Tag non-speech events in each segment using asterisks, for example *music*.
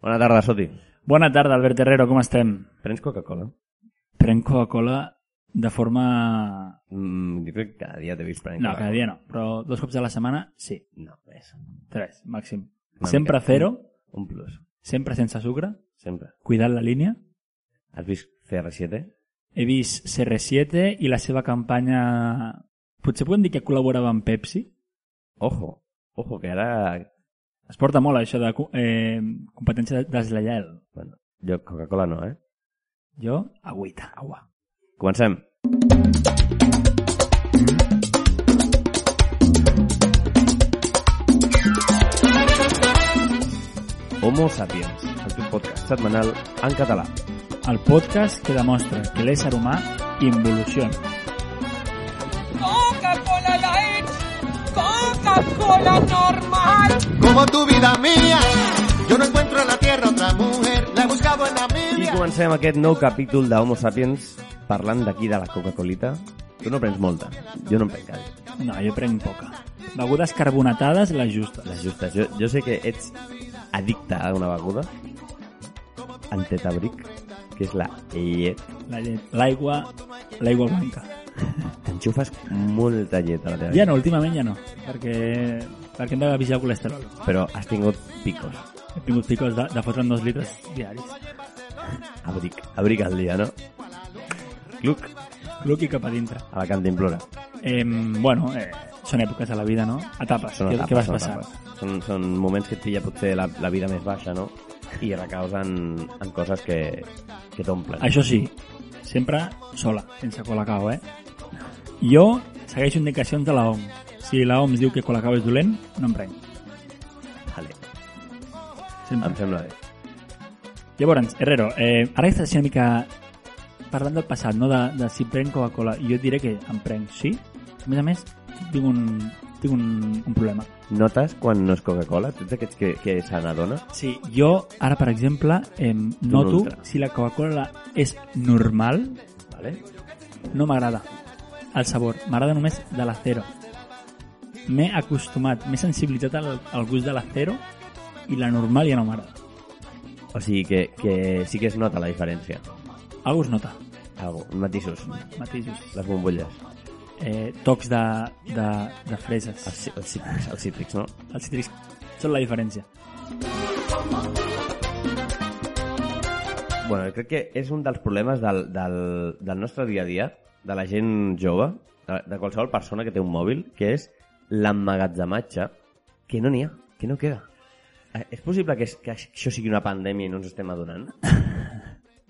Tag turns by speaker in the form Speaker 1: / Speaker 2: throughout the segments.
Speaker 1: Bona tarda, Soti.
Speaker 2: Bona tarda, Albert Herrero, com estem?
Speaker 1: Prens Coca-Cola?
Speaker 2: Prenc Coca-Cola de forma...
Speaker 1: Mm, jo crec que cada dia t'he vist prenent
Speaker 2: No, cada dia no, però dos cops a la setmana sí,
Speaker 1: No, res.
Speaker 2: tres, màxim.
Speaker 1: Una
Speaker 2: sempre
Speaker 1: mica.
Speaker 2: zero,
Speaker 1: Un plus.
Speaker 2: sempre sense sucre,
Speaker 1: Sempre.
Speaker 2: cuidant la línia.
Speaker 1: Has vist CR7?
Speaker 2: He vist CR7 i la seva campanya... Potser podem dir que col·laborava amb Pepsi?
Speaker 1: Ojo. Ojo, que ara...
Speaker 2: Es porta molt això de co- eh, competència deslleial.
Speaker 1: Bueno, jo Coca-Cola no, eh?
Speaker 2: Jo, agüita, agua.
Speaker 1: Comencem. Homo Sapiens, el teu podcast setmanal en català.
Speaker 2: El podcast que demostra que l'ésser humà involuciona.
Speaker 3: Coca-Cola Light, Coca-Cola normal.
Speaker 4: Como tu vida mía, yo no encuentro en la tierra otra mujer, la he buscado en la
Speaker 1: I
Speaker 4: Biblia.
Speaker 1: comencem aquest nou capítol de Homo Sapiens parlant d'aquí de la Coca-Colita. Tu no prens molta, jo no en prenc gaire.
Speaker 2: No, jo prenc poca. Begudes carbonatades, les justes.
Speaker 1: Les justes, jo, jo sé que ets addicte a una beguda, antetabric, que és la llet.
Speaker 2: La llet, l'aigua, l'aigua blanca.
Speaker 1: T'enxufes molta llet a la teva
Speaker 2: Ja
Speaker 1: vida,
Speaker 2: no, últimament ja no, perquè, perquè hem de vigilar el colesterol.
Speaker 1: però has tingut picos.
Speaker 2: He tingut picos de, de fotre'n dos litres diaris.
Speaker 1: Abric, abric al dia, no? Cluc,
Speaker 2: Cluqui cap a dintre.
Speaker 1: a la cantimplora.
Speaker 2: Eh, bueno, eh, són èpoques de la vida, no? Etapes,
Speaker 1: Són
Speaker 2: què,
Speaker 1: etapes,
Speaker 2: què vas
Speaker 1: són
Speaker 2: passar?
Speaker 1: etapes. Són, són moments que et pilla potser la, la vida més baixa, no? I recaus en, en coses que, que t'omplen.
Speaker 2: Això sí, sempre sola, sense colacao, eh? Jo segueixo indicacions de la OMS. Si la OMS diu que colacao és dolent, no em prenc.
Speaker 1: Vale. Em
Speaker 2: Sempre.
Speaker 1: sembla bé.
Speaker 2: Llavors, Herrero, eh, ara estàs així una mica parlant del passat, no? De, de si prenc Coca-Cola. I Jo et diré que em prenc, sí. A més a més, tinc un, tinc un, un problema.
Speaker 1: Notes quan no és Coca-Cola? Tu ets d'aquests que, que se n'adona?
Speaker 2: Sí, jo ara, per exemple, eh, noto
Speaker 1: ultra.
Speaker 2: si la Coca-Cola és normal,
Speaker 1: Vale?
Speaker 2: no m'agrada el sabor. M'agrada només de la zero. M'he acostumat, m'he sensibilitzat al, al gust de la zero i la normal ja no m'agrada.
Speaker 1: O sigui que, que sí que es nota la diferència.
Speaker 2: Algú es nota,
Speaker 1: Algo, matisos,
Speaker 2: matisos.
Speaker 1: les bombolles,
Speaker 2: Eh, tocs de, de, de freses.
Speaker 1: els, ci- els, cítrics, els cítrics, no?
Speaker 2: Els cítrics són la diferència.
Speaker 1: Bueno, jo crec que és un dels problemes del, del, del nostre dia a dia, de la gent jove, de, de qualsevol persona que té un mòbil, que és l'emmagatzematge, que no n'hi ha, que no queda. Eh, És possible que, es, que això sigui una pandèmia i no ens estem adonant?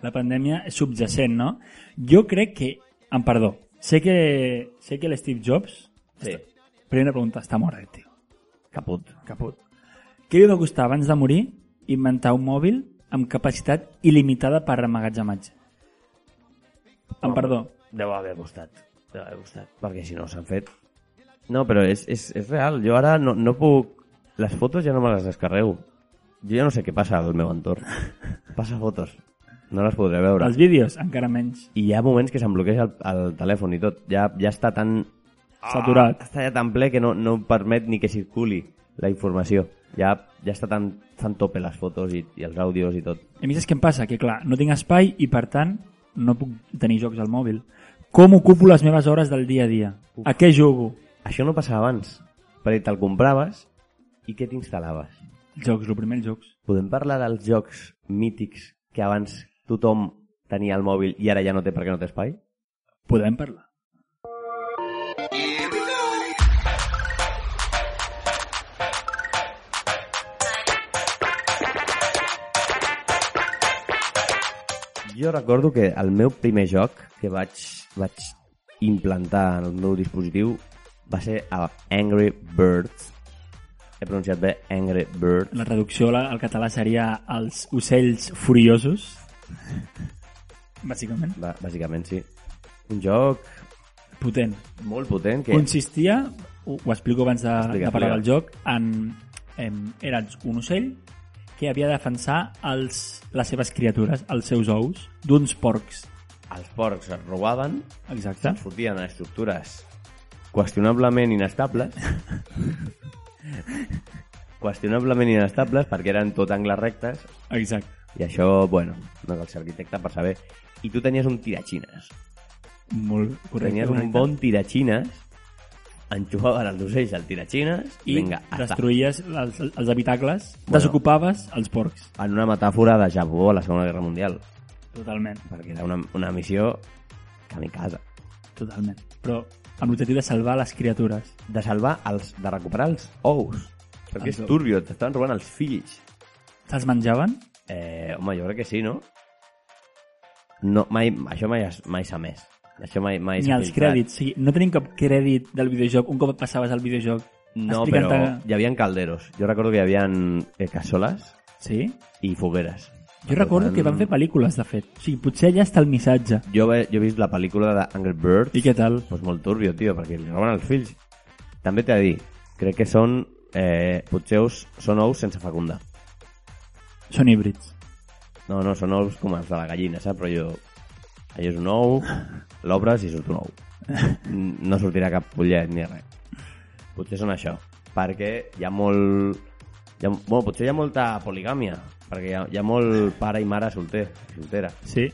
Speaker 2: La pandèmia és subjacent, no? Jo crec que... Em perdó. Sé que, sé que l'Steve Jobs...
Speaker 1: Sí.
Speaker 2: Primera pregunta, està mort, aquest tio.
Speaker 1: Caput.
Speaker 2: Caput. Què li va costar abans de morir inventar un mòbil amb capacitat il·limitada per emmagatzematge? Em perdó.
Speaker 1: Deu haver costat. Deu haver costat. Perquè si no s'han fet... No, però és, és, és real. Jo ara no, no puc... Les fotos ja no me les descarrego. Jo ja no sé què passa al meu *laughs* entorn. Passa fotos. No les podré veure.
Speaker 2: Els vídeos, encara menys.
Speaker 1: I hi ha moments que se'm bloqueja el, el telèfon i tot. Ja, ja està tan... Ah.
Speaker 2: Saturat.
Speaker 1: Està ja tan ple que no, no permet ni que circuli la informació. Ja, ja està tan, tan tope les fotos i, i els àudios i tot.
Speaker 2: A mi saps què em passa? Que clar, no tinc espai i per tant no puc tenir jocs al mòbil. Com ocupo les meves hores del dia a dia? A què jugo?
Speaker 1: Això no passava abans, perquè te'l compraves i què t'instal·laves?
Speaker 2: Jocs, el primer, els jocs.
Speaker 1: Podem parlar dels jocs mítics que abans tothom tenia al mòbil i ara ja no té perquè no té espai?
Speaker 2: Podem parlar.
Speaker 1: Jo recordo que el meu primer joc que vaig, vaig implantar en el meu dispositiu va ser el Angry Birds. He pronunciat bé Angry Bird.
Speaker 2: La reducció la- al català seria els ocells furiosos. Bàsicament.
Speaker 1: Bà- Bàsicament, sí. Un joc
Speaker 2: Potent.
Speaker 1: molt potent que...
Speaker 2: Consistia, ho, ho explico abans de,
Speaker 1: Explica,
Speaker 2: de parlar
Speaker 1: explica.
Speaker 2: del joc, en, en, era un ocell que havia de defensar els, les seves criatures, els seus ous, d'uns porcs.
Speaker 1: Els porcs es robaven
Speaker 2: Exacte.
Speaker 1: se'n fotien a
Speaker 2: *laughs*
Speaker 1: estructures qüestionablement inestables qüestionablement inestables perquè eren tot angles rectes
Speaker 2: Exacte.
Speaker 1: i això, bueno, no cal ser arquitecte per saber. I tu tenies un tirachines.
Speaker 2: Molt correcte.
Speaker 1: Tenies un
Speaker 2: correcte.
Speaker 1: bon tirachines, enxufaven els ocells al tirachines i,
Speaker 2: I
Speaker 1: vinga, a estar.
Speaker 2: destruïes els, els habitacles,
Speaker 1: Bueno.
Speaker 2: desocupaves els porcs.
Speaker 1: En una metàfora de Japó a la Segona Guerra Mundial,
Speaker 2: Totalment,
Speaker 1: perquè era una, una missió kamikaze.
Speaker 2: totalment. Però amb l'objectiu de salvar les criatures.
Speaker 1: De salvar els... de recuperar els ous. Perquè
Speaker 2: Els
Speaker 1: és
Speaker 2: ous.
Speaker 1: turbio, t'estaven robant els fills.
Speaker 2: Se'ls menjaven?
Speaker 1: Eh, home, jo crec que sí, no? No, mai, això mai, es- mai s'ha més. Això mai, mai
Speaker 2: Ni
Speaker 1: s'ha
Speaker 2: els
Speaker 1: filtrat.
Speaker 2: crèdits. O sigui, no tenim cap crèdit del videojoc un cop et passaves el videojoc.
Speaker 1: No, però
Speaker 2: Explica'm ta-
Speaker 1: hi havia calderos. Jo recordo que hi havia eh, cassoles
Speaker 2: Sí?
Speaker 1: i fogueres.
Speaker 2: Jo recordo que van fer pel·lícules, de fet. O sigui, potser allà està el missatge.
Speaker 1: Jo, ve- jo he vist la pel·lícula d'Angry Birds.
Speaker 2: I què tal?
Speaker 1: Pues molt turbio, tio, perquè li roben els fills. També t'he de dir, crec que són... Eh, potser ous, són ous sense fecundar.
Speaker 2: Són híbrids.
Speaker 1: No, no, són ous com els de la gallina, saps? Però jo... Allò és un ou, l'obres i surt un ou. No sortirà cap pollet ni res. Potser són això. Perquè hi ha molt... Hi ha, bueno, potser hi ha molta poligàmia. Perquè hi ha, hi ha molt pare i mare solter, soltera.
Speaker 2: Sí.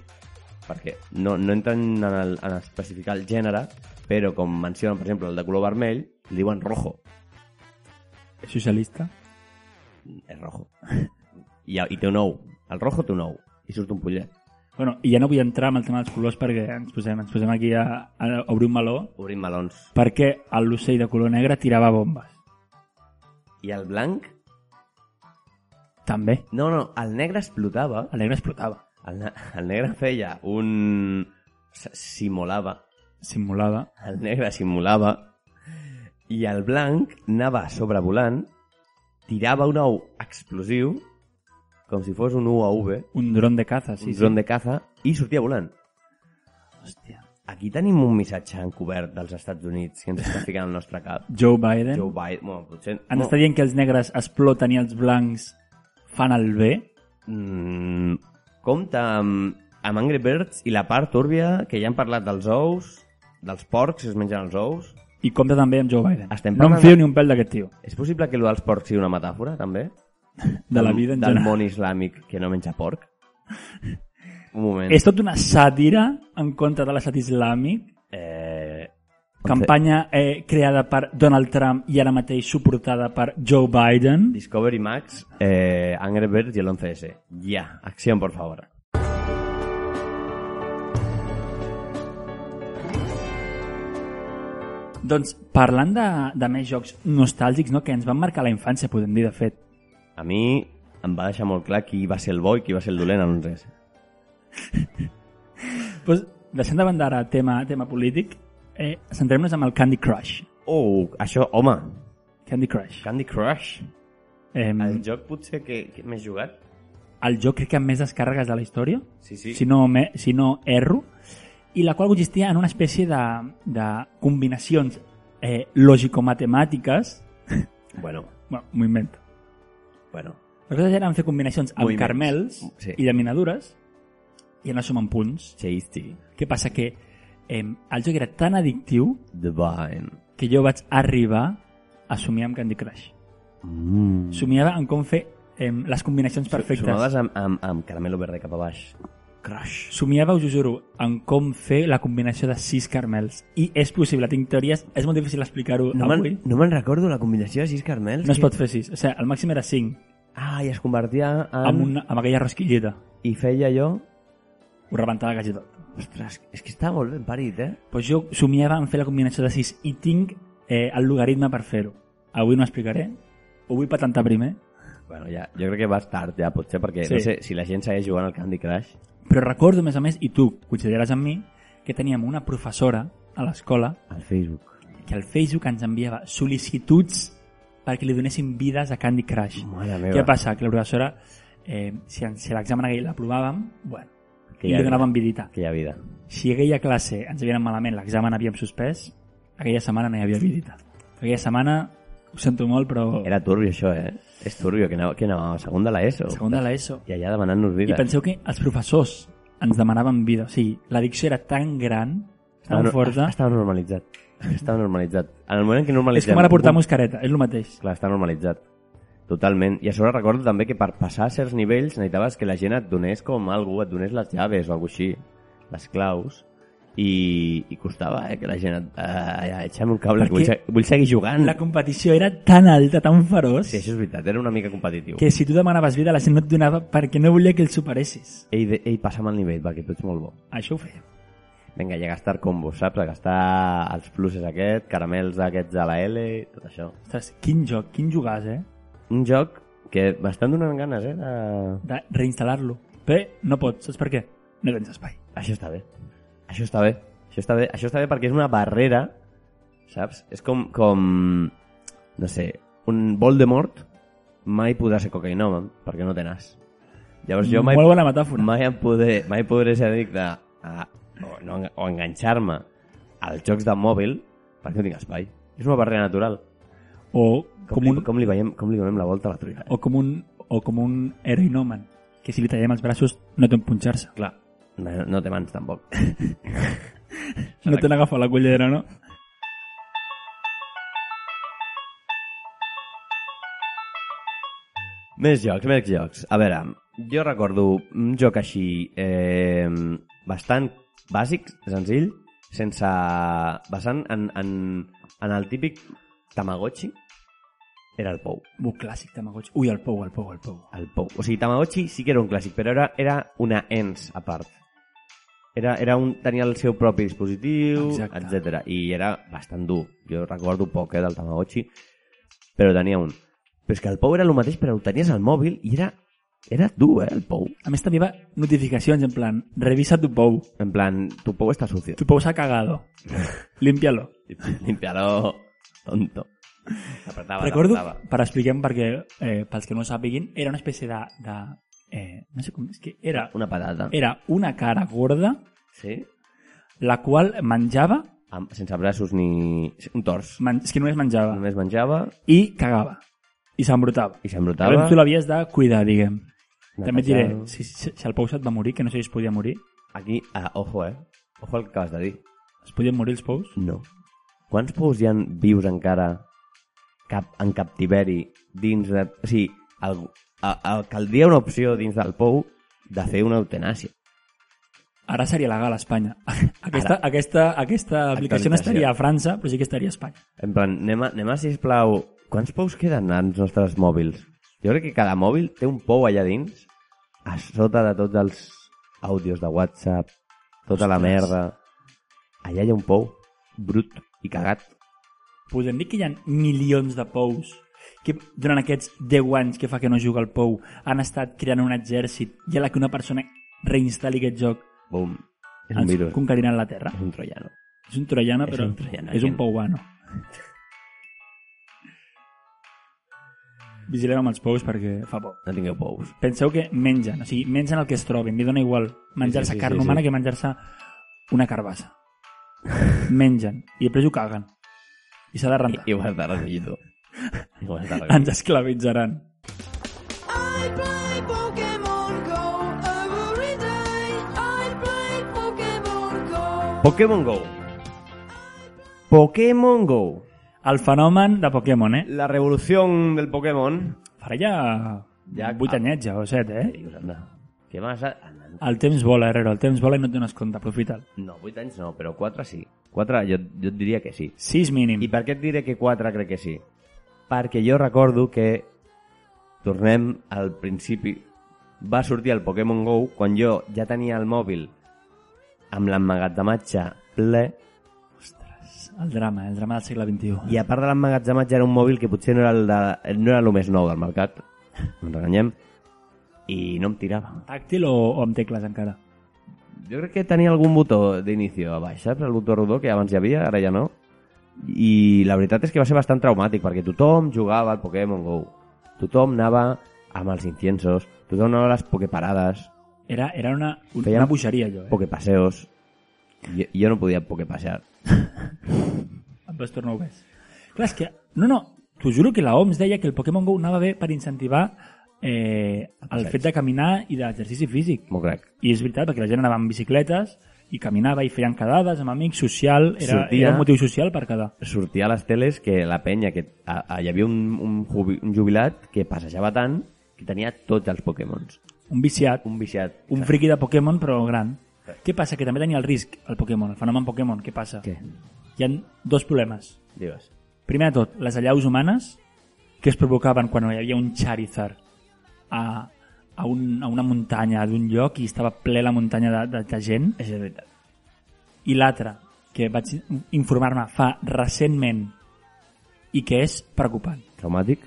Speaker 1: Perquè no, no entren en, el, en especificar el gènere, però com mencionen, per exemple, el de color vermell, li diuen rojo.
Speaker 2: És socialista?
Speaker 1: És rojo. I, I té un ou. El rojo té un ou. I surt un pollet.
Speaker 2: Bueno, i ja no vull entrar amb el tema dels colors perquè ens posem, ens posem aquí a, a obrir un meló
Speaker 1: Obrim melons.
Speaker 2: perquè l'ocell de color negre tirava bombes.
Speaker 1: I el blanc
Speaker 2: També.
Speaker 1: No, no, el negre explotava.
Speaker 2: El negre explotava.
Speaker 1: El, ne- el negre feia un... s- Simulava.
Speaker 2: Simulava.
Speaker 1: El negre simulava. I el blanc anava sobrevolant, tirava un ou explosiu, com si fos un UAV,
Speaker 2: Un dron de caza,
Speaker 1: sí,
Speaker 2: sí,
Speaker 1: un dron de caza, i sortia volant.
Speaker 2: sí. Hòstia.
Speaker 1: Aquí tenim un missatge encobert dels Estats Units que ens està ficant al nostre cap.
Speaker 2: Joe Biden.
Speaker 1: Joe Biden, bueno, potser...
Speaker 2: Ens està dient que els negres exploten i els blancs fan el bé.
Speaker 1: Mm, compta amb, amb Angry Birds i la part túrbia, que ja hem parlat dels ous, dels porcs, si es mengen els ous.
Speaker 2: I compta també amb Joe Biden.
Speaker 1: Estem
Speaker 2: no em
Speaker 1: parlant
Speaker 2: fio
Speaker 1: de-
Speaker 2: ni un pèl d'aquest tio.
Speaker 1: És possible que el dels porcs sigui una metàfora, també?
Speaker 2: De la
Speaker 1: Del-
Speaker 2: vida en
Speaker 1: Del
Speaker 2: general.
Speaker 1: món islàmic que no menja
Speaker 2: *laughs*
Speaker 1: porc? Un moment.
Speaker 2: És tot una sàtira en contra de l'estat islàmic.
Speaker 1: Eh,
Speaker 2: Campanya eh, creada per Donald Trump i ara mateix suportada per Joe Biden.
Speaker 1: Discovery Max, eh, Angry Birds i el 11S. Ja, acció, por favor.
Speaker 2: Doncs parlant de, de més jocs nostàlgics no, que ens van marcar la infància, podem dir, de fet.
Speaker 1: A mi em va deixar molt clar qui va ser el bo i qui va ser el dolent a l'11S.
Speaker 2: Pues, Doncs, deixant de banda ara tema, tema polític, eh, centrem-nos amb el Candy Crush.
Speaker 1: Oh, això, home,
Speaker 2: Candy Crush.
Speaker 1: Candy Crush.
Speaker 2: Eh,
Speaker 1: El
Speaker 2: el,
Speaker 1: joc potser que, que més jugat?
Speaker 2: el joc crec que amb més descàrregues de la història,
Speaker 1: Sí, sí.
Speaker 2: si, no, me, si no erro, i la qual consistia en una espècie de, de combinacions eh, lògico-matemàtiques...
Speaker 1: Bueno,
Speaker 2: Bueno, m'ho invento.
Speaker 1: bueno.
Speaker 2: Les coses eren fer combinacions amb
Speaker 1: Moviments. Oh,
Speaker 2: carmels
Speaker 1: Sí.
Speaker 2: i llaminadures i anar sumant punts.
Speaker 1: Tasty.
Speaker 2: Què passa? Que eh, el joc era tan addictiu
Speaker 1: Divine.
Speaker 2: que jo vaig arribar a somiar amb Candy Crush.
Speaker 1: Mm.
Speaker 2: Somiava en com fer eh, les combinacions perfectes.
Speaker 1: Somaves amb, amb, amb caramelo verde cap a baix. Crush.
Speaker 2: Somiava, us ho juro, en com fer la combinació de sis carmels. I és possible, tinc teories, és molt difícil explicar-ho
Speaker 1: No
Speaker 2: avui.
Speaker 1: me'n no me'n recordo la combinació de sis carmels.
Speaker 2: No es pot fer sis. O sigui, el màxim era cinc,
Speaker 1: Ah, i es convertia en...
Speaker 2: amb, una, amb aquella rosquilleta.
Speaker 1: I feia allò...
Speaker 2: Ho rebentava quasi tot.
Speaker 1: Ostres, és que està molt ben parit, eh?
Speaker 2: Però jo somiava en fer la combinació de sis i tinc eh, el logaritme per fer-ho. Avui no ho explicaré, ho vull patentar primer,
Speaker 1: Bueno, ja, jo crec que vas tard ja, potser, perquè
Speaker 2: Sí.
Speaker 1: no sé si la gent segueix jugant al Candy Crush.
Speaker 2: però recordo, a més a més, i tu coincidiràs amb mi, que teníem una professora a l'escola
Speaker 1: Al Facebook.
Speaker 2: que al Facebook ens enviava sol·licituds perquè li donessin vides a Candy Crush.
Speaker 1: Mare
Speaker 2: Què
Speaker 1: meva.
Speaker 2: passa? Que la professora, eh, si, en- si l'examen aquell l'aprovàvem, bueno,
Speaker 1: Que
Speaker 2: li
Speaker 1: ja-
Speaker 2: donàvem vidita.
Speaker 1: Aquella vida.
Speaker 2: Si aquella classe ens havien anat malament, l'examen havíem suspès, aquella setmana no hi havia vidita. Aquella setmana, ho sento molt, però...
Speaker 1: Era turbio, això, eh? És turbio, que anava, que anava a segon de l'ESO.
Speaker 2: Segon de l'ESO.
Speaker 1: I allà demanant-nos
Speaker 2: I
Speaker 1: vida.
Speaker 2: penseu que els professors ens demanaven vida. O sigui, l'addicció era tan gran,
Speaker 1: Estava,
Speaker 2: tan
Speaker 1: no-
Speaker 2: forta...
Speaker 1: Estava normalitzat. Estava normalitzat. En el moment en què normalitzem...
Speaker 2: És com ara portar
Speaker 1: Bum,
Speaker 2: mascareta, és el mateix.
Speaker 1: Clar, està normalitzat. Totalment. I a sobre recordo també que per passar certs nivells necessitaves que la gent et donés com algú, et donés les llaves o alguna així, les claus, i, i costava eh, que la gent et... Uh, Eixa'm un cable,
Speaker 2: Perquè
Speaker 1: que vull, se- vull seguir jugant.
Speaker 2: La competició era tan alta, tan feroç,
Speaker 1: Mm. Sí, això és veritat, era una mica competitiu.
Speaker 2: que si tu demanaves vida la gent no et donava perquè no volia que el superessis.
Speaker 1: Ei, de, ei, passa'm el nivell, perquè tu ets molt bo.
Speaker 2: Això ho feia.
Speaker 1: Vinga, i a gastar combos, saps? A gastar els pluses aquest, caramels aquests a la L, i tot això.
Speaker 2: Ostres, quin joc, quin jugàs, eh?
Speaker 1: Un joc que m'estan donant ganes, eh? De...
Speaker 2: De reinstal·lar-lo. Però no pots, saps per què? No tens espai.
Speaker 1: Això està bé. Això està bé. Això està bé, això està bé perquè és una barrera, saps? És com, com no sé, un Voldemort mai podrà ser cocainòman perquè no té nas. Llavors Doncs jo mai,
Speaker 2: Molt bona metàfora.
Speaker 1: mai, em podré, mai podré ser addicte a, o, no, o enganxar-me als jocs de mòbil perquè no tinc espai. És una barrera natural.
Speaker 2: O
Speaker 1: Com,
Speaker 2: com
Speaker 1: li,
Speaker 2: un, Oh.
Speaker 1: com, li veiem, com li donem la volta a la truita? Eh?
Speaker 2: o com un, o com un heroinòman, que si li tallem els braços no té on punxar-se.
Speaker 1: Clar, no, no té mans tampoc.
Speaker 2: No te l'agafa la collera, no?
Speaker 1: Més jocs, més jocs. A veure, jo recordo un joc així eh, bastant bàsic, senzill, sense... basant en, en, en el típic Tamagotchi, era el Pou.
Speaker 2: Un clàssic Tamagotchi. Ui, el pou, el pou, el pou.
Speaker 1: El Pou. O sigui, Tamagotchi sí que era un clàssic, però era, era una ENS a part. Era, era un, tenia el seu propi dispositiu,
Speaker 2: Exacte.
Speaker 1: etc. I era bastant dur. Jo recordo poc eh, del Tamagotchi, però tenia un. Però és que el Pou era el mateix, però ho tenies al mòbil i era, era dur, eh, el Pou.
Speaker 2: A més també va notificacions en plan, revisa tu pou,
Speaker 1: En plan, tu Pou està sucio.
Speaker 2: tu pou s'ha
Speaker 1: *laughs*
Speaker 2: cagado, límpialo.
Speaker 1: Limpialo, tonto. Apretava,
Speaker 2: Recordo,
Speaker 1: apretava.
Speaker 2: per expliquem, perquè eh, pels que no ho sàpiguin, era una espècie de... de eh, no sé com és que era,
Speaker 1: Una patata.
Speaker 2: era una cara gorda
Speaker 1: Sí?
Speaker 2: la qual menjava,
Speaker 1: Amb, sense braços ni... Un tors.
Speaker 2: man, és que només menjava,
Speaker 1: Només menjava
Speaker 2: i cagava, i s'embrutava.
Speaker 1: i
Speaker 2: Llavors
Speaker 1: s'embrutava.
Speaker 2: tu l'havies de cuidar, diguem.
Speaker 1: Netejar-lo.
Speaker 2: També et diré, si, si, si el Pou se't va morir, que no sé si es podia morir,
Speaker 1: Aquí, ah, ojo, eh? Ojo al que acabes de dir.
Speaker 2: es podien morir els Pous?
Speaker 1: No. Quants pous hi han vius encara cap, en captiveri dins de... O sigui, el, a, a, caldria una opció dins del pou de fer una eutanàsia.
Speaker 2: Ara seria legal a Espanya. Aquesta, aquesta, aquesta aplicació no
Speaker 1: Actualització.
Speaker 2: estaria a França, però sí que estaria a Espanya.
Speaker 1: En plan, anem a, anem a sisplau... Quants pous queden als nostres mòbils? Jo crec que cada mòbil té un pou allà dins, a sota de tots els àudios de WhatsApp, tota la
Speaker 2: Ostres.
Speaker 1: merda. Allà hi ha un pou brut i cagat.
Speaker 2: Podem dir que hi ha milions de Pous que durant aquests 10 anys que fa que no juga el Pou han estat creant un exèrcit i a la que una persona reinstal·li aquest joc
Speaker 1: Bum. És un
Speaker 2: ens
Speaker 1: virus.
Speaker 2: conqueriran la Terra.
Speaker 1: És un troiano.
Speaker 2: És un troiano,
Speaker 1: És
Speaker 2: però
Speaker 1: un troiano,
Speaker 2: és un
Speaker 1: gent.
Speaker 2: pouano. Vigilem amb els pous perquè fa por.
Speaker 1: No tingueu pous.
Speaker 2: Penseu que mengen, o sigui, mengen el que es trobin, li dona igual menjar-se
Speaker 1: Sí, sí, sí,
Speaker 2: carn
Speaker 1: sí, sí.
Speaker 2: humana que menjar-se una carbassa. mengen, i després ho caguen. I s'ha de rentar.
Speaker 1: I ho has de recollir *laughs* tu. I ho has de recollir.
Speaker 2: Ens esclavitzaran.
Speaker 5: I play Pokemon Go every day. I play Pokemon Go.
Speaker 1: Pokémon Go. Pokémon Go.
Speaker 2: El fenomen de Pokémon, eh?
Speaker 1: La revolución del Pokémon.
Speaker 2: Farà ja... Ja,
Speaker 1: Ja,
Speaker 2: 8
Speaker 1: clar.
Speaker 2: anyets, ja, o 7,
Speaker 1: Què
Speaker 2: eh?
Speaker 1: dius, anda? Què m'has... anda,
Speaker 2: El temps vola, Herrero, el temps vola i no et dones compte, aprofita'l.
Speaker 1: No, 8 anys no, però 4 sí. 4 jo, jo et diria que sí.
Speaker 2: 6 mínim.
Speaker 1: I per què et diré que 4 crec que sí? Perquè jo recordo que, tornem al principi, va sortir el Pokémon GO quan jo ja tenia el mòbil amb l'emmagatzematge ple
Speaker 2: El drama, el drama del segle XXI.
Speaker 1: I a part de l'emmagatzematge era un mòbil que potser no era el, de, no era el més nou del mercat, no ens enganyem, i no em tirava.
Speaker 2: Tàctil o, o amb tecles encara?
Speaker 1: Jo crec que tenia algun botó d'inicio a baix, saps? El botó rodó que abans hi havia, ara ja no. I la veritat és que va ser bastant traumàtic, perquè tothom jugava al Pokémon GO. Tothom anava amb els inciensos, tothom anava a les pokeparades,
Speaker 2: Era, era una, un-
Speaker 1: Feien-
Speaker 2: una bogeria, allò, eh?
Speaker 1: pokepaseos... Jo, jo no podia pokepasear.
Speaker 2: Em vas tornar obès. Clar, és que... No, no, t'ho juro que la OMS deia que el Pokémon GO anava bé per incentivar eh, el
Speaker 1: passeig.
Speaker 2: fet de caminar i d'exercici físic.
Speaker 1: M'ho crec.
Speaker 2: I és veritat, perquè la gent anava amb bicicletes i caminava i feien quedades amb amics, social, era,
Speaker 1: Sortia.
Speaker 2: era un motiu social per quedar.
Speaker 1: sortia a les teles que la penya, que a, a, hi havia un, un, jubi, un jubilat que passejava tant que tenia tots els Pokémons.
Speaker 2: Un viciat, un,
Speaker 1: Un viciat.
Speaker 2: un friqui de Pokémon però gran. Què passa? Que també tenia el risc, el Pokémon, el fenomen Pokémon. Què passa?
Speaker 1: Què?
Speaker 2: Hi han dos problemes.
Speaker 1: Digues.
Speaker 2: Primer de tot, les allaus humanes que es provocaven quan hi havia un Charizard a, a, un, a una muntanya d'un lloc i estava ple la muntanya de, de, de gent.
Speaker 1: És veritat.
Speaker 2: I l'altra, que vaig informar-me fa recentment i que és preocupant.
Speaker 1: Traumàtic?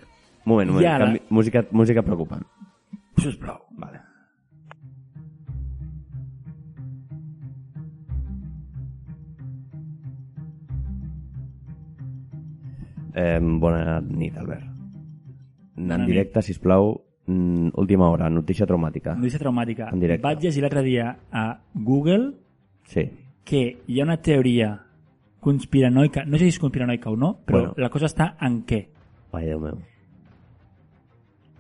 Speaker 1: Un moment, un moment.
Speaker 2: I ara-
Speaker 1: Canvi... Música, música preocupant.
Speaker 2: Sisplau.
Speaker 1: Vale. Eh, bona nit, Albert. Bona en
Speaker 2: nit.
Speaker 1: directe, si plau, última hora, notícia traumàtica.
Speaker 2: Notícia traumàtica.
Speaker 1: En directe.
Speaker 2: Vaig llegir l'altre dia a Google
Speaker 1: Sí.
Speaker 2: que hi ha una teoria conspiranoica, no sé si és conspiranoica o no, però
Speaker 1: Bueno.
Speaker 2: bueno. la cosa està en què.
Speaker 1: Ai, Déu meu.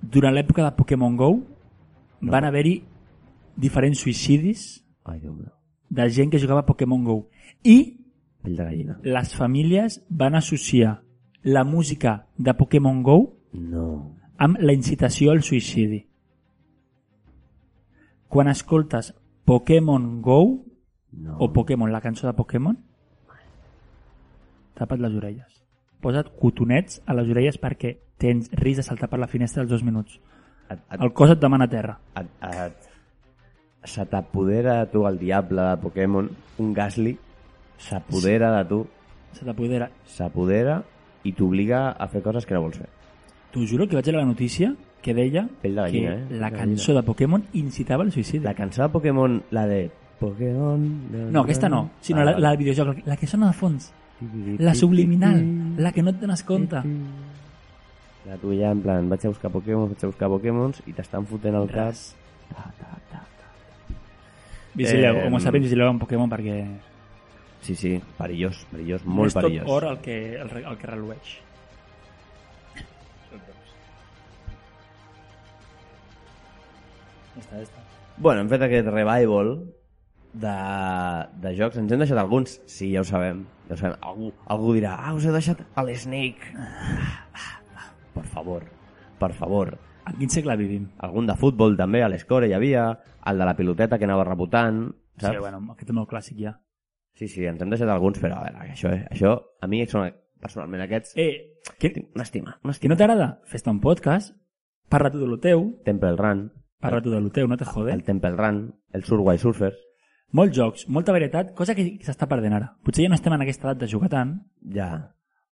Speaker 2: Durant l'època de Pokémon GO van haver-hi diferents suïcidis
Speaker 1: Ai, Déu meu.
Speaker 2: de gent que jugava a Pokémon GO. I
Speaker 1: Pell de gallina.
Speaker 2: les famílies van associar la música de Pokémon GO
Speaker 1: No.
Speaker 2: amb la incitació al suïcidi. Quan escoltes Pokémon GO
Speaker 1: No.
Speaker 2: o Pokémon, la cançó de Pokémon, tapa't les orelles. Posa't cotonets a les orelles perquè tens risc de saltar per la finestra als dos minuts.
Speaker 1: Et, et,
Speaker 2: El cos et demana terra.
Speaker 1: et, et, se t'apodera de tu el diable de Pokémon, un Gasly, s'apodera de tu,
Speaker 2: Se t'apodera.
Speaker 1: s'apodera i t'obliga a fer coses que no vols fer.
Speaker 2: T'ho juro que vaig veure la notícia que deia
Speaker 1: Pell de gallina,
Speaker 2: que
Speaker 1: eh?
Speaker 2: la
Speaker 1: Pell de
Speaker 2: cançó de Pokémon incitava al suïcidi.
Speaker 1: La cançó de Pokémon, la de Pokémon... Ah,
Speaker 2: No, aquesta no, sinó la, la del videojoc, la que sona de fons, la subliminal, la que no et dones compte.
Speaker 1: La tuya, en plan, vaig a buscar Pokémon, vaig a buscar Pokémons i t'estan fotent el cas.
Speaker 2: Res. Vigileu,
Speaker 1: Eh,
Speaker 2: com a sapiens, vigileu amb Pokémon perquè
Speaker 1: Sí, sí, perillós, perillós,
Speaker 2: no
Speaker 1: molt
Speaker 2: és tot
Speaker 1: perillós.
Speaker 2: or el que, el, re- el que relueix. Ja està, ja està.
Speaker 1: Bueno, hem fet aquest revival de, de jocs. Ens hem deixat alguns? Sí, ja ho sabem. Ja ho sabem. Algú, algú dirà, ah, us he deixat el Snake. Ah, ah, ah, Per favor, per favor.
Speaker 2: En quin segle vivim?
Speaker 1: Algun de futbol també, a l'escore hi havia, el de la piloteta que anava rebotant, saps?
Speaker 2: Sí, bueno, aquest és molt clàssic ja.
Speaker 1: sí, sí, ens hem deixat alguns, però a veure, això, eh? això a mi són, personalment aquests,
Speaker 2: Eh, que,
Speaker 1: una estima, una
Speaker 2: que
Speaker 1: estima.
Speaker 2: no t'agrada? Fes-te un podcast, parla tu de lo teu,
Speaker 1: Temple Run,
Speaker 2: parla tu de lo teu, no te jode.
Speaker 1: Ah, el Temple Run, el Surway Surfers,
Speaker 2: Molts jocs, molta varietat, cosa que s'està perdent ara. Potser ja no estem en aquesta edat de jugar tant,
Speaker 1: ja,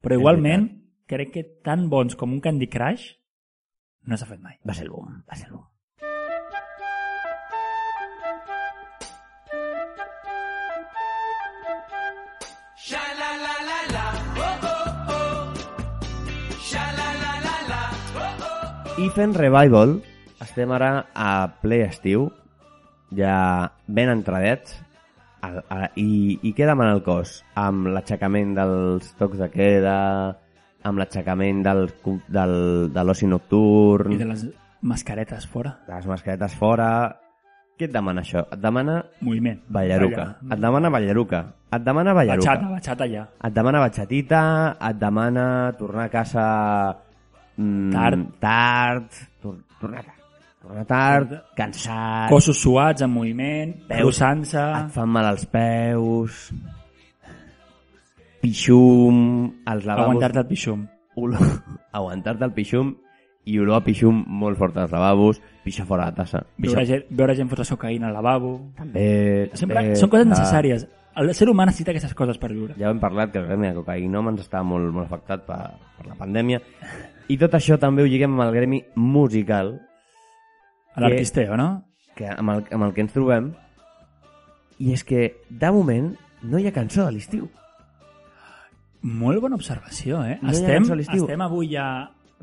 Speaker 2: però
Speaker 1: És
Speaker 2: igualment crec que tan bons com un Candy Crush no s'ha fet mai.
Speaker 1: va ser el boom, va ser el boom. I fent revival, estem ara a ple estiu, ja ben entradets, a, a, i, i què demana el cos? Amb l'aixecament dels tocs de queda, amb l'aixecament del, cu- del, de l'oci nocturn,
Speaker 2: I de les mascaretes fora.
Speaker 1: de les mascaretes fora... Què et demana això? Et demana
Speaker 2: Moviment.
Speaker 1: ballaruca.
Speaker 2: Ballar.
Speaker 1: Et demana ballaruca. Et demana ballaruca.
Speaker 2: Batxata, batxata ja.
Speaker 1: Et demana batxatita, et demana tornar a casa... Mm,
Speaker 2: Tard.
Speaker 1: Tard. Tor tornar tard. Tornar tard, cansat,
Speaker 2: Cossos suats, en moviment,
Speaker 1: Veus?
Speaker 2: cruzant-se...
Speaker 1: et fan mal els peus... Pixum, els lavabos...
Speaker 2: Aguantar-te el pixum.
Speaker 1: Olor... *laughs* Aguantar-te el pixum i olor a pixum molt fort als lavabos, pixar fora la tassa.
Speaker 2: Veure gent, veure gent fotre cocaïna al lavabo...
Speaker 1: Eh,
Speaker 2: Sempre,
Speaker 1: eh,
Speaker 2: són coses
Speaker 1: ah,
Speaker 2: necessàries. El ser humà necessita aquestes coses per viure.
Speaker 1: ja hem parlat que el gremi de cocaïnòmens està molt, molt afectat per, per la pandèmia i tot això també ho lliguem amb el gremi musical
Speaker 2: A l'artisteo, no?
Speaker 1: que, amb, el, amb el que ens trobem i és que de moment no hi ha cançó de l'estiu
Speaker 2: Molt bona observació, eh?
Speaker 1: No hi ha
Speaker 2: estem,
Speaker 1: cançó a l'estiu.
Speaker 2: estem avui ja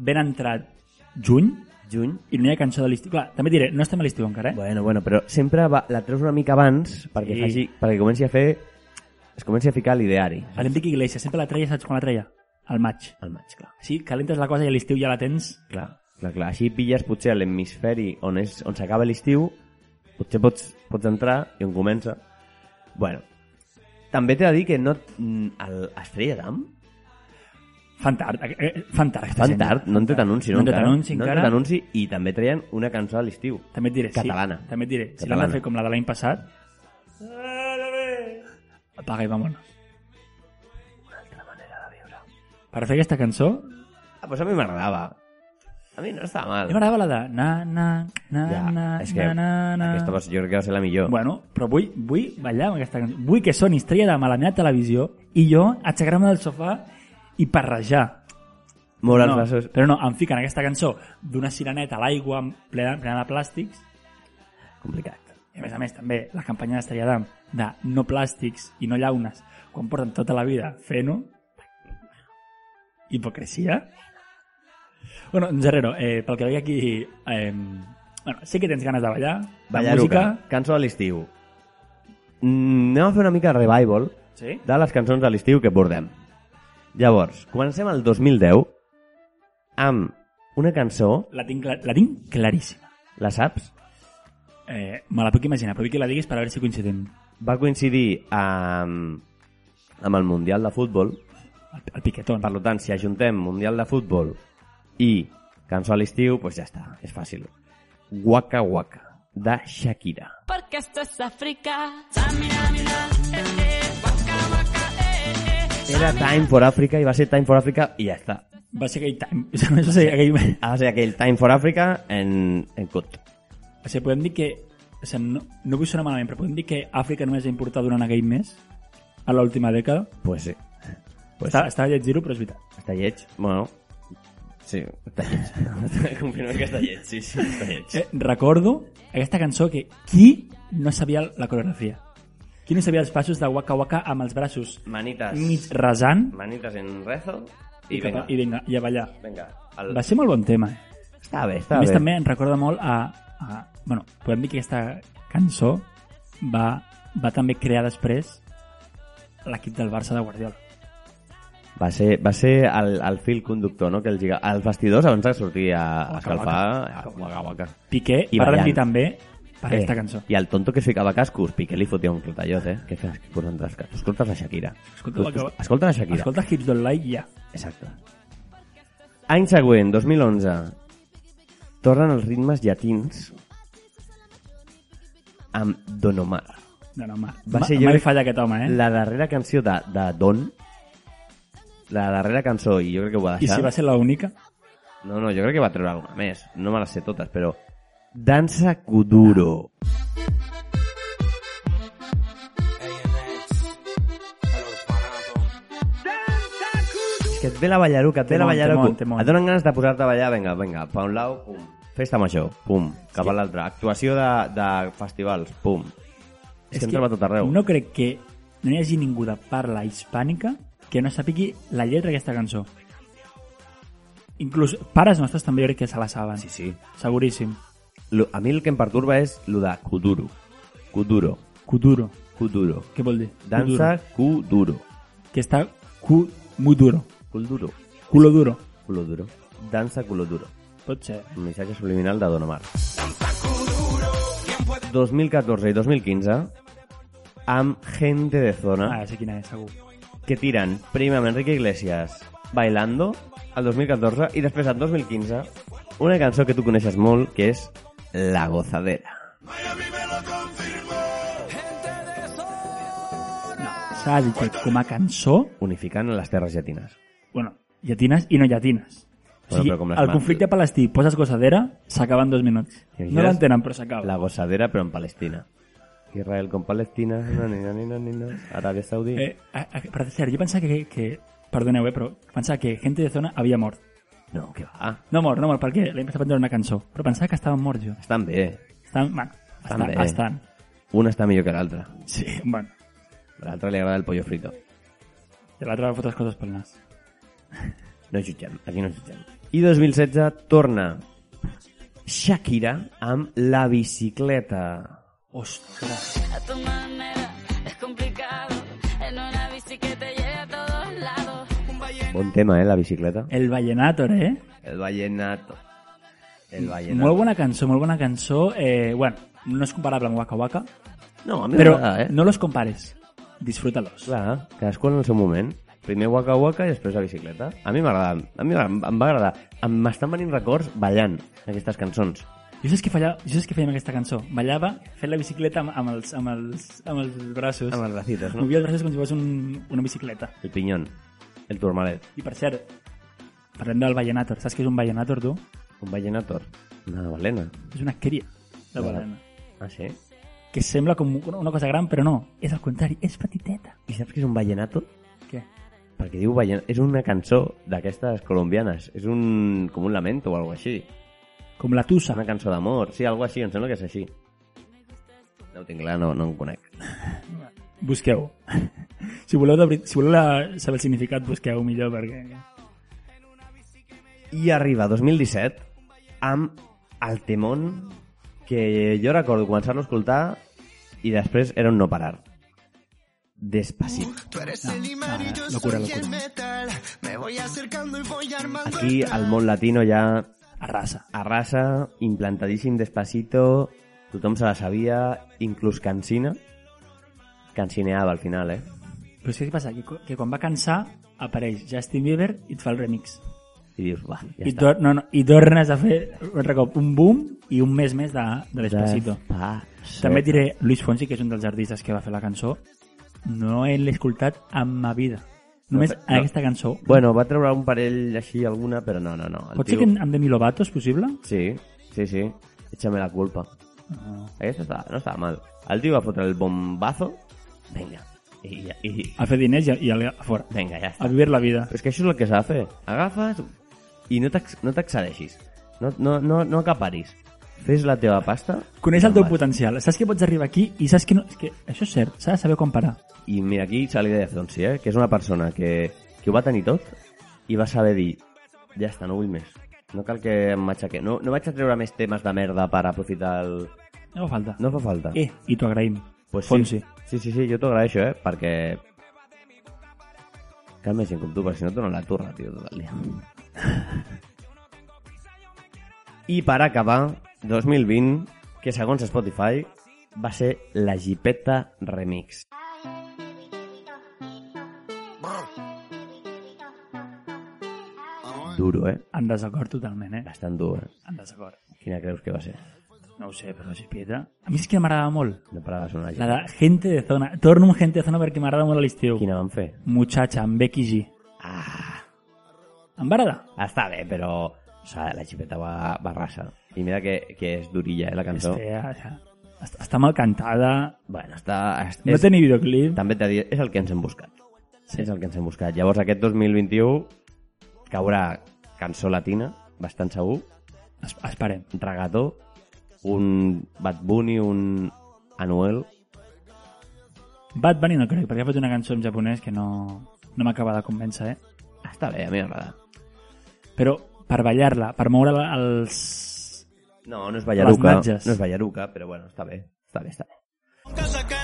Speaker 2: ben entrat juny
Speaker 1: juny
Speaker 2: i no hi ha cançó de l'estiu. Clar, també diré, no estem a l'estiu encara, eh?
Speaker 1: bueno, bueno, però sempre va, la treus una mica abans perquè,
Speaker 2: Sí.
Speaker 1: faci, perquè comenci a fer es comenci a ficar a l'ideari
Speaker 2: A l'Enric Iglesias sempre la treia, saps quan la treia? Al maig.
Speaker 1: al maig, clar
Speaker 2: Sí, calentes la cosa i a l'estiu ja la tens.
Speaker 1: Clar, clar, clar. Així pilles potser a l'hemisferi on, és- on s'acaba l'estiu, potser pots, pots entrar i on comença. Bueno, també t'he de dir que no... mm, El Estrella d'Am
Speaker 2: Fan tard. eh, eh, Fan tard. aquesta
Speaker 1: fan
Speaker 2: gent.
Speaker 1: tard, no han tret anunci, no?
Speaker 2: No han tret
Speaker 1: encara.
Speaker 2: anunci
Speaker 1: No han
Speaker 2: encara.
Speaker 1: tret anunci i també treien una cançó a l'estiu.
Speaker 2: També et diré.
Speaker 1: Catalana.
Speaker 2: Sí, també et diré. Si l'han
Speaker 1: Catalana.
Speaker 2: de fer com la de l'any passat... Apaga i vamonos. Una altra manera de viure. Per fer aquesta cançó,
Speaker 1: Ah, pues a mi m'agradava. A mi no estava
Speaker 2: a
Speaker 1: mal.
Speaker 2: mi m'agradava la de na, na, na,
Speaker 1: Ja,
Speaker 2: na,
Speaker 1: és que
Speaker 2: na, na, na.
Speaker 1: aquesta va ser, jo crec que va ser la millor.
Speaker 2: Bueno, però vull, vull ballar amb aquesta cançó. Vull que soni estrella de la meva televisió i jo aixecar-me del sofà i parrejar.
Speaker 1: Moure els
Speaker 2: no,
Speaker 1: braços.
Speaker 2: però no, em fiquen aquesta cançó d'una sireneta a l'aigua plena, plena de plàstics
Speaker 1: Complicat.
Speaker 2: i a més a més també la campanya d'Estrella d'Am de no plàstics i no llaunes quan porten tota la vida fent-ho hipocresia bueno, Gerrero, eh, pel que veig aquí eh, bueno, sé que tens ganes de ballar de
Speaker 1: Ballaruca,
Speaker 2: música
Speaker 1: cançó a l'estiu. Mm, anem a fer una mica de revival
Speaker 2: sí?
Speaker 1: de les cançons de l'estiu que bordem. Llavors, comencem el 2010 amb una cançó,
Speaker 2: la, tinc, cla- la tinc claríssima
Speaker 1: la saps?
Speaker 2: eh, me la puc imaginar, però vull que la diguis per a veure si coincidim
Speaker 1: Va coincidir amb, amb el Mundial de Futbol,
Speaker 2: el, el piquetón
Speaker 1: Per tant, si ajuntem Mundial de Futbol i cançó a l'estiu, doncs ja està, és fàcil. Waka Waka, de Shakira.
Speaker 6: Porque esto es África.
Speaker 1: Era Time for Africa i va ser Time for Africa i ja està.
Speaker 2: va ser aquell time *laughs* va ser aquell,
Speaker 1: Ha de ser aquell Time for Africa en, en cut.
Speaker 2: O sigui, podem dir que... O sigui, no, no vull sonar malament, però podem dir que Àfrica només ha importat durant aquell mes, a l'última dècada.
Speaker 1: Pues sí. Pues
Speaker 2: Està,
Speaker 1: sí.
Speaker 2: estava llegint-ho, però és veritat.
Speaker 1: Està lleig? Bueno, sí, està lleig. *laughs* Confirmem que està lleig, sí, sí, està lleig.
Speaker 2: Eh, recordo aquesta cançó que qui no sabia la coreografia? Qui no sabia els passos de Waka Waka amb els braços mig
Speaker 1: Manites,
Speaker 2: resant
Speaker 1: manites en rezo i,
Speaker 2: i, cap
Speaker 1: vinga,
Speaker 2: a- i, vinga, i a ballar?
Speaker 1: vinga. El...
Speaker 2: Va ser molt bon tema. Eh?
Speaker 1: Està bé, està
Speaker 2: A més,
Speaker 1: bé.
Speaker 2: també em recorda molt a, a... Bueno, podem dir que aquesta cançó va, va també crear després l'equip del Barça de Guardiola.
Speaker 1: Va ser, va ser el, el fil conductor, no?, que els, lliga... els vestidors abans de sortir a, a
Speaker 2: Guaca,
Speaker 1: escalfar...
Speaker 2: guaca.
Speaker 1: Guaca, guaca.
Speaker 2: Piqué
Speaker 1: I
Speaker 2: I va
Speaker 1: ballant.
Speaker 2: rendir també per eh. aquesta cançó.
Speaker 1: I el tonto que es ficava cascos, Piqué li fotia un clatallot, eh? Què fas? Que posant els cascos? Escoltes la Shakira.
Speaker 2: Escolta,
Speaker 1: Tu- tu-
Speaker 2: guaca.
Speaker 1: Escolta la Shakira.
Speaker 2: Escolta Hips Don't Lie ja.
Speaker 1: Exacte. Any següent, 2011. Tornen els ritmes llatins amb Don Omar.
Speaker 2: No, no, ma,
Speaker 1: Va
Speaker 2: va
Speaker 1: ser
Speaker 2: ser
Speaker 1: jo-
Speaker 2: mai falla aquest home, eh? La...
Speaker 1: La darrera canció de, de Don, la darrera cançó, i jo crec que ho va
Speaker 2: I
Speaker 1: deixar...
Speaker 2: si va ser l'única?
Speaker 1: No, no, jo crec que va treure alguna més. No me les sé totes, però... Dansa Kuduro. És que et ve la ballaruca, et ve la
Speaker 2: Temón,
Speaker 1: ballaruca.
Speaker 2: temón, temón.
Speaker 1: Et donen ganes de posar-te a ballar, vinga, vinga, pa un lau, pum. Festa major, pum, cap a l'altre. Actuació de, de festivals, pum. És, que hem trobat a tot arreu.
Speaker 2: No crec que no hi hagi ningú de parla hispànica que no sàpigui la lletra d'aquesta cançó. Inclús pares nostres també jo crec que se la saben.
Speaker 1: Sí, sí.
Speaker 2: Seguríssim.
Speaker 1: Lo- A mi el que em perturba és lo de Kuduro. Kuduro.
Speaker 2: Kuduro.
Speaker 1: Kuduro.
Speaker 2: Què vol dir?
Speaker 1: Dansa Kuduro.
Speaker 2: Kuduro. Que està cu... Muy duro.
Speaker 1: Kuduro.
Speaker 2: Culo duro.
Speaker 1: Culo duro. Danza culo duro.
Speaker 2: Pot ser.
Speaker 1: Un missatge subliminal de Don Omar. 2014 i 2015 amb Gente de Zona
Speaker 2: Ah, sé quina és, segur.
Speaker 1: que tiren primer amb Enrique Iglesias Bailando al 2014 i després al 2015 una cançó que tu coneixes molt que és La Gozadera.
Speaker 2: S'ha dit que com a cançó
Speaker 1: Unificant les terres llatines.
Speaker 2: bueno, llatines i no llatines. O
Speaker 1: Bueno,
Speaker 2: sigui,
Speaker 1: però com les
Speaker 2: el
Speaker 1: mans.
Speaker 2: conflicte palestí, poses gossadera, s'acaba en dos minuts.
Speaker 1: Imagines?
Speaker 2: No l'entenen, però s'acaba.
Speaker 1: La Gozadera però en Palestina. Israel con Palestina, no, ni, no, ni, no, ni, no. Aràbia Saudí.
Speaker 2: Eh, a, a, per cert, jo pensava que, que... Perdoneu, eh, però pensava que gent de zona havia mort.
Speaker 1: No, que va.
Speaker 2: No mort, no mort, perquè l'hem passat prendre una cançó. Però pensava que estaven morts jo.
Speaker 1: Estan bé.
Speaker 2: Estan, bueno,
Speaker 1: Estan
Speaker 2: estan,
Speaker 1: bé.
Speaker 2: estan.
Speaker 1: Un està millor que l'altre.
Speaker 2: Sí, bueno.
Speaker 1: A l'altre li agrada el pollo frito.
Speaker 2: I l'altre va fotre les coses pel nas.
Speaker 1: No jutgem, aquí no jutgem. I 2016 torna Shakira amb la bicicleta.
Speaker 2: Ostres.
Speaker 6: A tu manera es complicado. En una bici que te lleve a todos lados.
Speaker 1: Bon tema, eh, la bicicleta.
Speaker 2: El Vallenator, eh?
Speaker 1: El vallenato. El
Speaker 2: Molt
Speaker 1: vallenato.
Speaker 2: bona cançó, molt bona cançó. Eh, bueno, no és comparable amb Waka Waka,
Speaker 1: No, a mi
Speaker 2: Però
Speaker 1: m'agrada, eh?
Speaker 2: no los compares. Disfrútalos.
Speaker 1: Clar, cadascú en el seu moment. Primer Waka Waka i després la bicicleta. A mi m'agrada, a mi em em va agradar. Em- M'estan venint records ballant aquestes cançons.
Speaker 2: Jo saps què fallava, jo saps què feia amb aquesta cançó? Ballava fent la bicicleta amb, amb, els, amb, els, amb els braços.
Speaker 1: Amb les bracites, no?
Speaker 2: Movia els braços com si fos un, una bicicleta.
Speaker 1: El pinyón, el turmalet,
Speaker 2: I per cert, parlem del Vallenator. Saps què és un Vallenator, tu?
Speaker 1: un ballenator, una balena.
Speaker 2: És una cria de
Speaker 1: Vale.
Speaker 2: balena.
Speaker 1: Ah, sí?
Speaker 2: Que sembla com una una cosa gran, però no. És al contrari, és petiteta.
Speaker 1: I saps què és un ballenato?
Speaker 2: Què?
Speaker 1: Perquè diu ballen... És una cançó d'aquestes colombianes. És un... com un lamento o alguna així.
Speaker 2: Com la tusa.
Speaker 1: Una cançó d'amor. Sí, alguna així, em sembla que és així. No ho tinc clar, no, no em conec.
Speaker 2: Busqueu. *laughs* si voleu, de, veri- si voleu la, saber el significat, busqueu millor, perquè...
Speaker 1: I arriba 2017 amb el temón que jo recordo començar-lo a escoltar i després era un no parar. Despacito.
Speaker 4: Tú eres el imán y yo
Speaker 2: locura,
Speaker 4: soy el
Speaker 2: locura.
Speaker 4: metal. Me voy acercando y voy armando.
Speaker 1: Aquí al món latino ja
Speaker 2: Arrasa.
Speaker 1: arrasa, implantadíssim Despacito, tothom se la sabia, inclús Cancina. Cancineava al final, eh?
Speaker 2: Però és que què passa? Que, cu- que quan va cansar, apareix Justin Bieber i et fa el remix.
Speaker 1: I dius, va, ja
Speaker 2: I,
Speaker 1: està.
Speaker 2: tor no, no, I tornes a fer un altre cop un boom i un mes més de, de l'Espacito.
Speaker 1: Despacito.
Speaker 2: També et diré Luis Fonsi, que és un dels artistes que va fer la cançó. No l'he escoltat en ma vida. Només
Speaker 1: No,
Speaker 2: no,
Speaker 1: no.
Speaker 2: aquesta cançó.
Speaker 1: Bueno, va treure un parell així, alguna, però no, no, no. El
Speaker 2: Pot ser que amb Demi Lovato és possible?
Speaker 1: Sí, sí, sí. Échame la culpa.
Speaker 2: No.
Speaker 1: Eso estaba, no estaba mal. Al tío iba a fotar el bombazo. Venga. Y, ya- y-
Speaker 2: A fer diners i, i a, a fora.
Speaker 1: venga, ya está.
Speaker 2: A vivir la vida.
Speaker 1: Però és que això és el que s'ha de fer. Agafes i no t'ex- no t'excedeixis. No, no, no, no acaparis. Fes la teva pasta.
Speaker 2: Coneix
Speaker 1: i
Speaker 2: el
Speaker 1: te'n
Speaker 2: teu
Speaker 1: vas.
Speaker 2: potencial. Saps que pots arribar aquí i saps que no... És que això és cert, s'ha de saber quan parar.
Speaker 1: I mira, aquí se li deia Zonsi, eh? que és una persona que, que ho va tenir tot i va saber dir, ja està, no vull més. No cal que em matxaque. No, no vaig a treure més temes de merda per aprofitar el...
Speaker 2: No fa falta.
Speaker 1: No fa falta.
Speaker 2: Eh, i t'ho agraïm.
Speaker 1: Pues
Speaker 2: Fonsi.
Speaker 1: Sí. sí, sí, sí, jo t'ho agraeixo, eh? Perquè... Cal més gent com tu, perquè si no et donen la turra, tio, tot el dia. I per acabar, 2020, que segons Spotify va ser la Gipeta Remix. Duro, eh?
Speaker 2: En desacord totalment, eh?
Speaker 1: Bastant dur, eh?
Speaker 2: En desacord.
Speaker 1: Quina creus que va ser?
Speaker 2: No ho sé, però la xipieta... A mi és que m'agradava molt.
Speaker 1: No parava de sonar
Speaker 2: La
Speaker 1: gent.
Speaker 2: de Gente de Zona. Torno amb Gente de Zona perquè m'agrada molt a l'estiu.
Speaker 1: Quina van fer?
Speaker 2: Muchacha, amb Becky G.
Speaker 1: Ah!
Speaker 2: Em va agradar.
Speaker 1: Està bé, però o sea, la xipeta va, va rasa. I mira que, que és durilla, eh, la
Speaker 2: És
Speaker 1: cançó.
Speaker 2: fea, ja. Està, està mal cantada.
Speaker 1: Bueno, està... És,
Speaker 2: No té ni videoclip.
Speaker 1: També t'ha dit, és el que ens hem buscat. Sí. És el que ens hem buscat. Llavors, aquest 2021 caurà cançó latina, bastant segur,
Speaker 2: Es, esperem.
Speaker 1: regató, un Bad Bunny, un Anuel...
Speaker 2: Bad Bunny no crec, perquè ha fet una cançó en japonès que no, no m'acaba de convèncer, eh?
Speaker 1: Està bé, a mi m'agrada.
Speaker 2: Però per ballar-la, per moure la- els...
Speaker 1: No, no és ballaruca,
Speaker 2: Les natges.
Speaker 1: no és ballaruca, però bueno, està bé, està bé, està bé.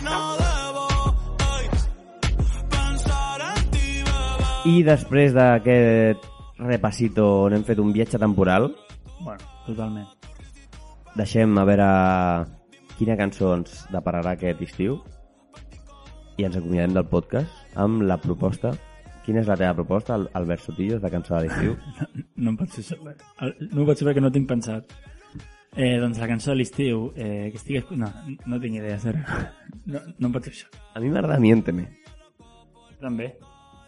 Speaker 1: I després d'aquest repassito on hem fet un viatge temporal,
Speaker 2: Bueno, totalment.
Speaker 1: deixem a veure quina cançó ens depararà aquest estiu i ens acomiadem del podcast amb la proposta. Quina és la teva proposta, Al- Albert Sotillos, de cançó de l'estiu?
Speaker 2: No em pots saber. No ho pots saber que no tinc pensat. Eh, doncs la cançó de l'estiu, eh, que estic... escu- No, no tinc idea, zero. *laughs* No, no em pots saber.
Speaker 1: *laughs* A mi m'agrada Miénteme.
Speaker 2: També.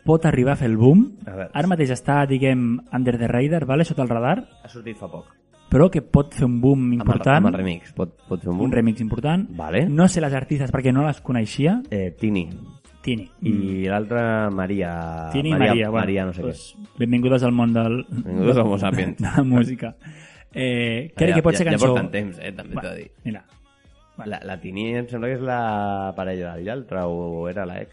Speaker 2: Pot arribar a fer el boom.
Speaker 1: A veure.
Speaker 2: Ara mateix està, diguem, under the radar, vale? sota el radar,
Speaker 1: Ha sortit fa poc.
Speaker 2: però que pot fer un boom
Speaker 1: Amb el, amb
Speaker 2: important.
Speaker 1: el remix. Pot, pot fer un boom?
Speaker 2: un remix important.
Speaker 1: Mm. Vale.
Speaker 2: No sé les artistes perquè no les coneixia.
Speaker 1: Eh, Tini.
Speaker 2: Tini.
Speaker 1: I l'altra, Mm. Ah, Maria...
Speaker 2: Mm. Tini i Maria, bueno,
Speaker 1: Maria, no sé
Speaker 2: doncs, Benvingudes al món del...
Speaker 1: Benvingudes al Homo sapiens.
Speaker 2: *laughs* De la música. Eh,
Speaker 1: què.
Speaker 2: crec que pot ser cançó...
Speaker 1: Ja porten temps, eh, també t'ho he de dir.
Speaker 2: Mira,
Speaker 1: La, la Tini em sembla que és la parella del Llaltra, o era la ex.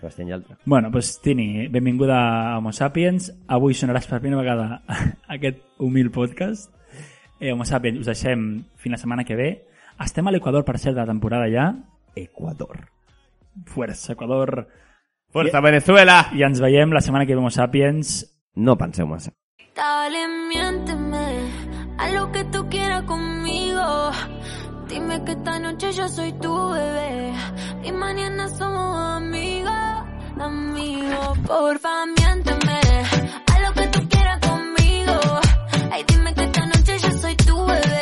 Speaker 1: Sebastián Llaltra.
Speaker 2: Bueno, doncs Tini, benvinguda a Homo Sapiens. Avui sonaràs per primera vegada *laughs* aquest humil podcast. Eh, Homo Sapiens, us deixem fins la setmana que ve. Estem a l'Equador, per cert, de la temporada ja.
Speaker 1: Ecuador.
Speaker 2: Fuerza, Equador.
Speaker 1: Força, Venezuela!
Speaker 2: I ens veiem la setmana que ve, Homo Sapiens.
Speaker 1: No penseu massa.
Speaker 6: Dale, miénteme a lo que tú quieras conmigo.
Speaker 5: Dime que esta noche yo soy tu bebé y mañana somos amigos, amigos. Porfa, miénteme a lo que tú quieras conmigo. Ay, dime que esta noche yo soy tu bebé